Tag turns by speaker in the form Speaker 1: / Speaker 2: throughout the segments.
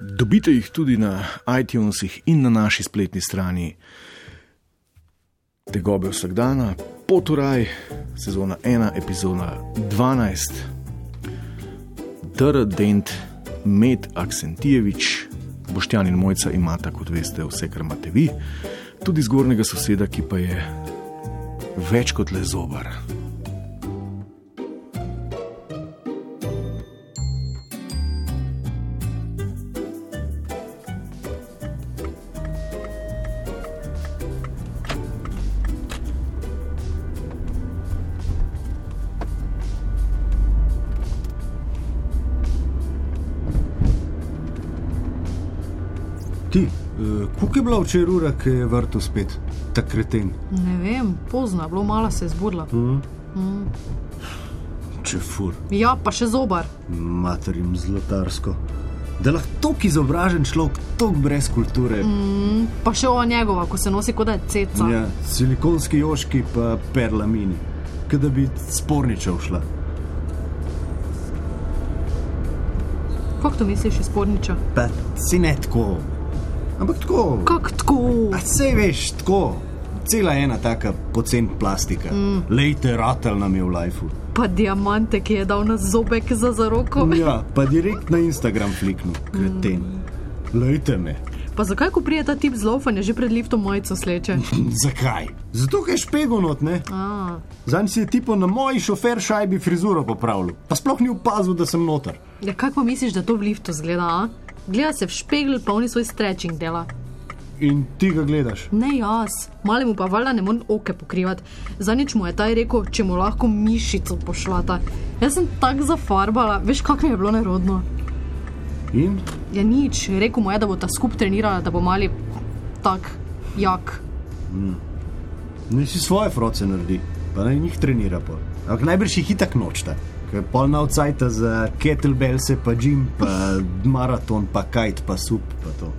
Speaker 1: Dobite jih tudi na iTunesih in na naši spletni strani Tegobe vsakdana, Poturaj, sezona 1, epizoda 12, Drdent, Med Aksentijevič, Boštjan in Mojca imata, kot veste, vse, kar imate vi, tudi zgornjega soseda, ki pa je več kot le zobar.
Speaker 2: Ti, kako je bila včeraj ura, ki je vrtel spet, ta kreten?
Speaker 3: Ne vem, pozna, je bilo malo se je zbudila.
Speaker 2: Mm. Mm. Če fur,
Speaker 3: Ja, pa še zobar.
Speaker 2: materim zlatarsko. Da lahko tako izobražen človek, tako brez kulture. Mm.
Speaker 3: Mm, pa še ova njegova, ko se nosi kot da je ceca.
Speaker 2: Ja, silikonski joški pa perlamini, kot da bi sporničev šla.
Speaker 3: Kako to misliš, iz sporniča?
Speaker 2: Pa si ne tako. Ampak tako.
Speaker 3: Kako tako?
Speaker 2: A se veš, tako. Cela ena taka pocen plastika. Mm. Lejte, ratel nam je v lajfu.
Speaker 3: Pa diamante, ki je dal na zobek za zaroko.
Speaker 2: Ja, pa direkt na Instagram fliknu, kreten. Lejte me.
Speaker 3: Pa zakaj, ko prije ta tip z laufanja, že pred liftom majico sleče?
Speaker 2: Mhm. Zakaj? Zato, ker je špegonot, ne?
Speaker 3: A,
Speaker 2: Zanj si je tipo na moji šofer šajbi frizuro popravljal, pa sploh ni opazil, da sem noter.
Speaker 3: ja, kaj pa misliš, da to v liftu zgleda? A? Gleda se v špegel, pa oni svoj stretching dela.
Speaker 2: In ti ga gledaš.
Speaker 3: Ne jaz, malemu pa valjda ne morem oke pokrivati. Zanič mu je taj rekel, če mu lahko mišico pošlata. Jaz sem tako zafarbala, veš, kako mi je bilo nerodno.
Speaker 2: In
Speaker 3: Ja, nič, rekel mu je, da bo ta skup trenirala, da bo mali tak, jak.
Speaker 2: naj si svoje froce naredi, pa naj jih trenira pol. Ampak najbrž jih itak nočta. Ker je polna odcajta za kettlebellse, pa gim, pa maraton, pa kajt, pa sup, pa to.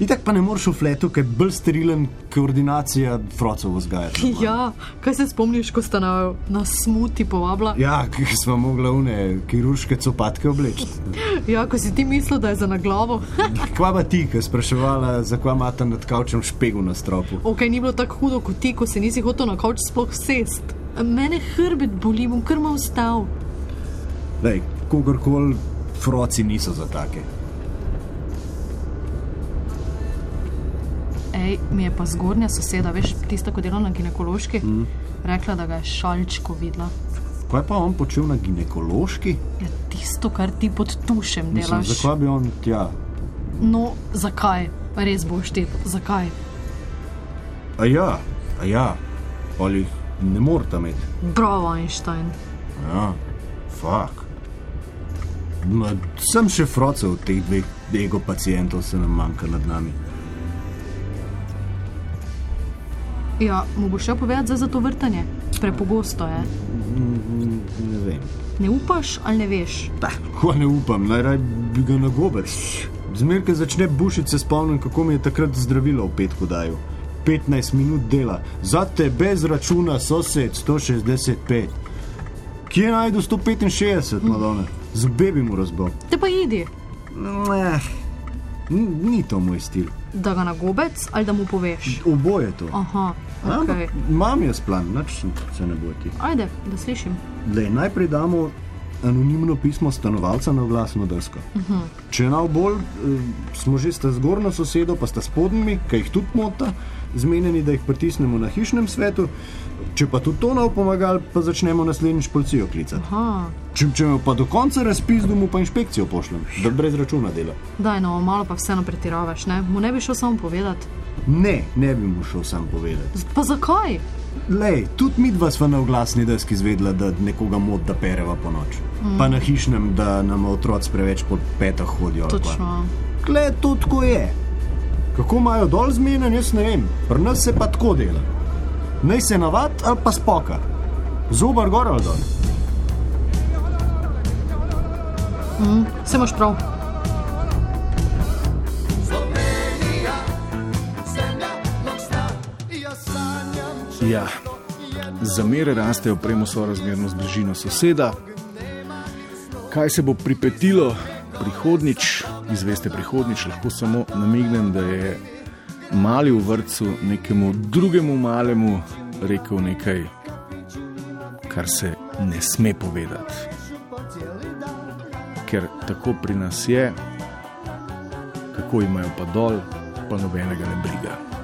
Speaker 2: Itak pa ne moreš v fletu, ker je bolj sterilen koordinacija frocov vzgajati.
Speaker 3: Ja, kaj se spomniš, ko sta na, na smuti povabila?
Speaker 2: Ja, ki smo mogli une kirurške copatke obleči.
Speaker 3: Ja, ko si ti mislil, da je za na glavo.
Speaker 2: Kva pa ti, ki spraševala, zakaj imata nad kavčem špegu na stropu?
Speaker 3: ok, ni bilo tako hudo kot ti, ko se nisi hotel na kavč sploh sest. Mene hrbet boli, bom krmo vstal.
Speaker 2: Lej, kogarkoli, froci niso za take.
Speaker 3: Ej, mi je pa zgornja soseda, veš, tista, ki dela na ginekološki, mm.
Speaker 2: Mhm.
Speaker 3: rekla, da ga je šalčko videla.
Speaker 2: Kaj pa on počel na ginekološki?
Speaker 3: Ja, tisto, kar ti pod tušem
Speaker 2: Mislim,
Speaker 3: delaš.
Speaker 2: zakaj bi on tja?
Speaker 3: No, zakaj? Res boš ti, zakaj?
Speaker 2: A ja, a ja, ali jih ne morata imeti.
Speaker 3: Bravo, Einstein.
Speaker 2: Ja, fuk. Ma, sem še frocev teh dveh ego pacijentov, se nam manjka nad nami.
Speaker 3: Ja, mu boš še povedati za, za to vrtanje? Prepogosto je.
Speaker 2: Mm, Ne vem.
Speaker 3: Ne upaš ali ne veš?
Speaker 2: Tako ne upam, najraje bi ga nagobec. Zmer, ki začne bušiti, se spomnim, kako mi je takrat zdravilo v petku dajo. 15 minut dela, za te brez računa sosed 165. Kje najdu 165, madone? Zube bi mu razbil.
Speaker 3: Te pa idi,
Speaker 2: Ne, ni to moj stil.
Speaker 3: da ga nagobec ali da mu
Speaker 2: Mm.
Speaker 3: poveš.
Speaker 2: Oboje to.
Speaker 3: Aha,
Speaker 2: Ampak
Speaker 3: ok.
Speaker 2: Imam jaz plan, nič se ne bo ti.
Speaker 3: Ajde, da slišim.
Speaker 2: Lej, najprej damo anonimno pismo stanovalca na glasno desko. Uh -huh. Če na obol, eh, smo že sta zgornjo sosedo, pa sta spodnjimi, ki jih tudi mota, zmenjeni, da jih pritisnemo na hišnem svetu. Če pa tudi to ne bo pomagalo, pa začnemo naslednjič policijo klicati.
Speaker 3: Aha,
Speaker 2: Če, če me pa do konca razpizdom, mu pa inšpekcijo pošljem, da brez računa dela.
Speaker 3: daj no, malo pa vseeno pretiravaš, ne? Mu ne bi šel samo povedati.
Speaker 2: Ne, ne bi mu šel sam povedati.
Speaker 3: Pa zakaj?
Speaker 2: Lej, tudi mi dva sva na oglasni deski izvedela, da nekoga mod da pereva po noč. Mm. Pa na hišnem, da nam otroci preveč po petah hodijo. ali pa-
Speaker 3: Točno.
Speaker 2: Kle to tako je. Kako imajo dol zmeden, jaz ne vem, pri nas se pa tako dela. Naj se navad ali pa spoka, zobar gor ali dol.
Speaker 3: Se imaš prav.
Speaker 1: Ja, zamere rastejo premo sorazmerno z bližino soseda. Kaj se bo pripetilo prihodnič, izveste prihodnjič, lahko samo namignem, da je mali v vrtu nekemu drugemu malemu rekel nekaj, kar se ne sme povedati. Ker tako pri nas je, kako imajo pa dol, pa nobenega ne briga.